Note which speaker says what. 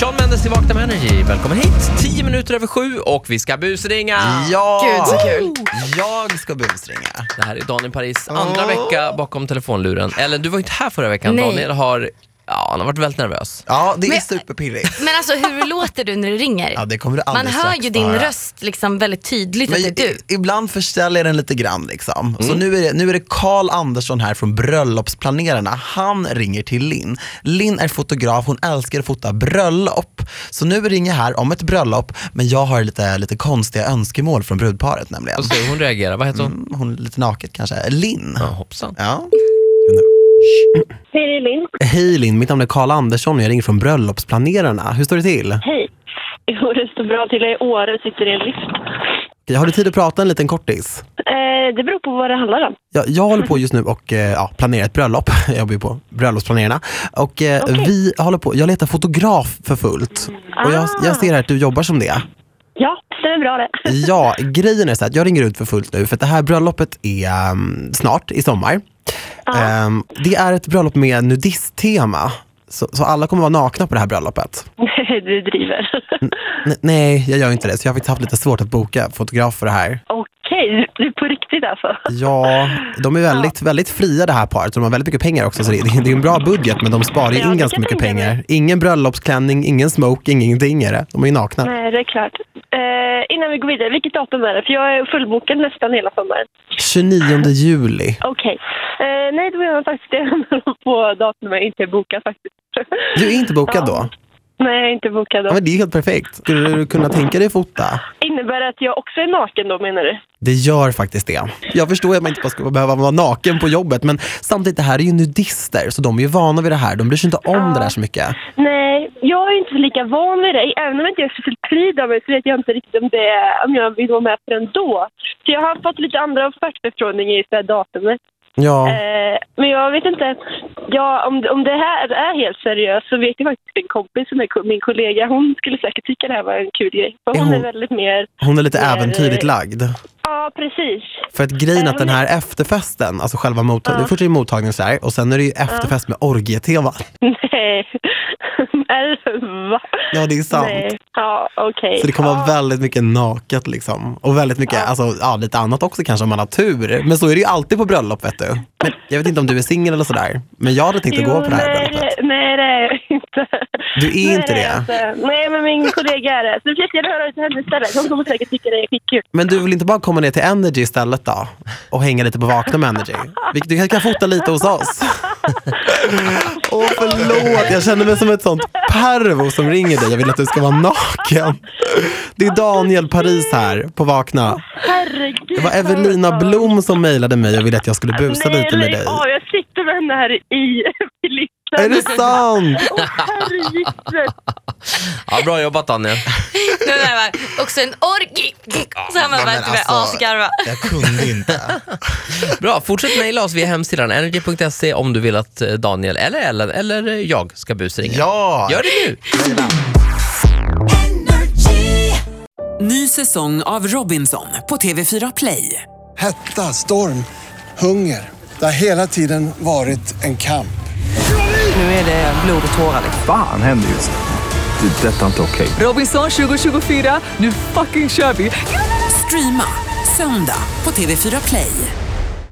Speaker 1: Sean Mendes till Vakna med Energy. Välkommen hit! 10 minuter över sju och vi ska busringa.
Speaker 2: Ja!
Speaker 3: Gud, så kul.
Speaker 2: Jag ska busringa.
Speaker 1: Det här är Daniel Paris andra vecka bakom telefonluren. Ellen, du var ju inte här förra veckan.
Speaker 3: Nej.
Speaker 1: Daniel har, ja, han har varit väldigt nervös.
Speaker 2: Ja, det är
Speaker 3: Men-
Speaker 2: superpirrigt.
Speaker 3: Men alltså hur låter du när du ringer?
Speaker 2: Ja, det kommer du
Speaker 3: Man
Speaker 2: alldeles
Speaker 3: hör
Speaker 2: strax
Speaker 3: ju din
Speaker 2: höra.
Speaker 3: röst liksom väldigt tydligt
Speaker 2: Men
Speaker 3: att det är
Speaker 2: i-
Speaker 3: du.
Speaker 2: ibland förställer jag den lite grann. Liksom. Så nu är, det, nu är det Karl Andersson här från Bröllopsplanerarna. Han ringer till Linn. Linn är fotograf, hon älskar att fota bröllop. Så nu ringer jag här om ett bröllop, men jag har lite, lite konstiga önskemål från brudparet nämligen.
Speaker 1: Och så hon reagerar. Vad heter hon?
Speaker 2: Mm, Hon är lite naket kanske. Linn.
Speaker 1: Ja, hoppsan.
Speaker 2: Ja.
Speaker 4: Hej, det är Linn.
Speaker 2: Hej Linn, mitt namn är Karl Andersson och jag ringer från Bröllopsplanerarna. Hur står det till?
Speaker 4: Hej. Jo, det står bra till. Jag är i Åre och sitter i en lift.
Speaker 2: Har du tid att prata en liten kortis?
Speaker 4: Eh, det beror på vad det handlar om.
Speaker 2: Jag, jag håller på just nu och eh, ja, planerar ett bröllop. Jag jobbar ju på bröllopsplanerarna. Och eh, vi håller på, jag letar fotograf för fullt. Och jag, jag ser här att du jobbar som det.
Speaker 4: Ja, det stämmer bra det.
Speaker 2: Ja, grejen är så här att jag ringer ut för fullt nu för att det här bröllopet är ehm, snart i sommar. Ehm, det är ett bröllop med nudisttema. Så, så alla kommer vara nakna på det här bröllopet.
Speaker 4: Nej, du driver.
Speaker 2: Mm. N- nej, jag gör inte det. Så jag har faktiskt haft lite svårt att boka fotograf för det här.
Speaker 4: Okej, du- du är på riktigt alltså?
Speaker 2: Ja, de är väldigt, väldigt fria det här paret och de har väldigt mycket pengar också. Så det, det är en bra budget men de sparar ju
Speaker 4: Ja,
Speaker 2: in
Speaker 4: det
Speaker 2: ganska
Speaker 4: kan
Speaker 2: mycket
Speaker 4: jag tänka mig.
Speaker 2: pengar. Ingen bröllopsklänning, ingen smoke, ingenting är det. De är ju nakna.
Speaker 4: Nej, det är klart. Eh, innan vi går vidare, vilket datum är det? För jag är fullbokad nästan hela sommaren.
Speaker 2: 29 juli.
Speaker 4: Okej. Eh, nej, då är jag faktiskt på datum jag inte är bokad faktiskt.
Speaker 2: Du är inte bokad
Speaker 4: Ja.
Speaker 2: då?
Speaker 4: Nej, jag är inte bokad då.
Speaker 2: Ja, men det är helt perfekt. Skulle du kunna tänka dig fota?
Speaker 4: Innebär det att jag också är naken då, menar du?
Speaker 2: Det gör faktiskt det. Jag förstår att man inte bara ska behöva vara naken på jobbet men samtidigt, det här är ju nudister så de är ju vana vid det här. De bryr sig inte om det där så mycket.
Speaker 4: Nej, jag är inte lika van vid det. Även om jag inte är så fyllt pryd av det så vet jag inte riktigt om, det, om jag vill vara med på den då. Så jag har fått lite andra offertförfrågningar i det här datumet.
Speaker 2: Ja.
Speaker 4: Eh, men jag vet inte. Ja, om, om det här är helt seriöst så vet jag faktiskt en kompis som är ko- min kollega. Hon skulle säkert tycka det här var en kul grej. För
Speaker 2: Är
Speaker 4: hon är
Speaker 2: hon-
Speaker 4: väldigt mer...
Speaker 2: Hon är lite
Speaker 4: det är-
Speaker 2: äventyrligt lagd.
Speaker 4: Ja, precis.
Speaker 2: För att grejen är
Speaker 4: Äh,
Speaker 2: att den här efterfesten, alltså själva mottagningen, först är det mottagning så här, och sen är det ju efterfest med orgietema.
Speaker 4: Nej. Eller va?
Speaker 2: Ja, det är sant.
Speaker 4: Nej. Ja, okej.
Speaker 2: Så det kommer
Speaker 4: ja.
Speaker 2: vara väldigt mycket naket liksom. Och väldigt mycket, alltså ja, lite annat också kanske om man har tur. Men så är det ju alltid på bröllop vet du. Men jag vet inte om du är singel eller sådär. Men jag hade tänkt att gå på det här
Speaker 4: nej,
Speaker 2: bröllopet.
Speaker 4: det- nej, det är jag inte.
Speaker 2: Du är
Speaker 4: Nej,
Speaker 2: inte
Speaker 4: är
Speaker 2: det?
Speaker 4: jag inte. Nej, men min kollega är det. Så du försöker höra ut till henne istället. Hon kommer säkert tycka det är skitkul.
Speaker 2: Men du vill inte bara komma ner till Energy istället då? Och hänga lite på Vakna med Energy? Vi- Du kanske kan fota lite hos oss? Åh förlåt, jag känner mig som ett sånt pervo som ringer dig. Jag vill att du ska vara naken. Det är Daniel Paris här på Vakna.
Speaker 4: Herregud.
Speaker 2: Det var Evelina Blom som mejlade mig och ville att jag skulle busa
Speaker 4: nej,
Speaker 2: lite med dig.
Speaker 4: Ja, jag sitter med henne här i i listan.
Speaker 2: Är det sant?
Speaker 4: Åh, herregud.
Speaker 1: Ja, bra jobbat Daniel.
Speaker 3: Den där var också en orgi. Så här man bara typ
Speaker 2: alltså-
Speaker 3: asgarva.
Speaker 2: Jag kunde inte.
Speaker 1: Bra, fortsätt mejla oss via hemsidan energy.se om du vill att eh, Daniel eller Ellen eller eh, jag ska busringa.
Speaker 2: Ja!
Speaker 1: Gör det nu!
Speaker 5: Ny säsong av Robinson på TV4 Play.
Speaker 6: Hetta, storm, hunger. Det har hela tiden varit en kamp.
Speaker 5: Nu är det blod och tårar.
Speaker 7: Fan händer just nu. Det. är Detta är inte okej.
Speaker 5: Robinson 2024, nu fucking kör vi! Streama söndag på TV4 Play.